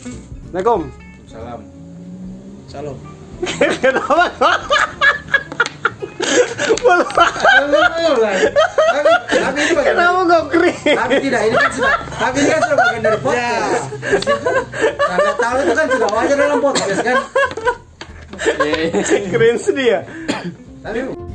Assalamualaikum. Salam. Salam. Kenapa? Tapi itu bagian. Kenapa kok kering? Tapi tidak ini kan sudah. Tapi ini kan sudah bagian dari podcast. Karena tahu itu kan sudah wajar dalam podcast kan. Keren sedih ya. Tapi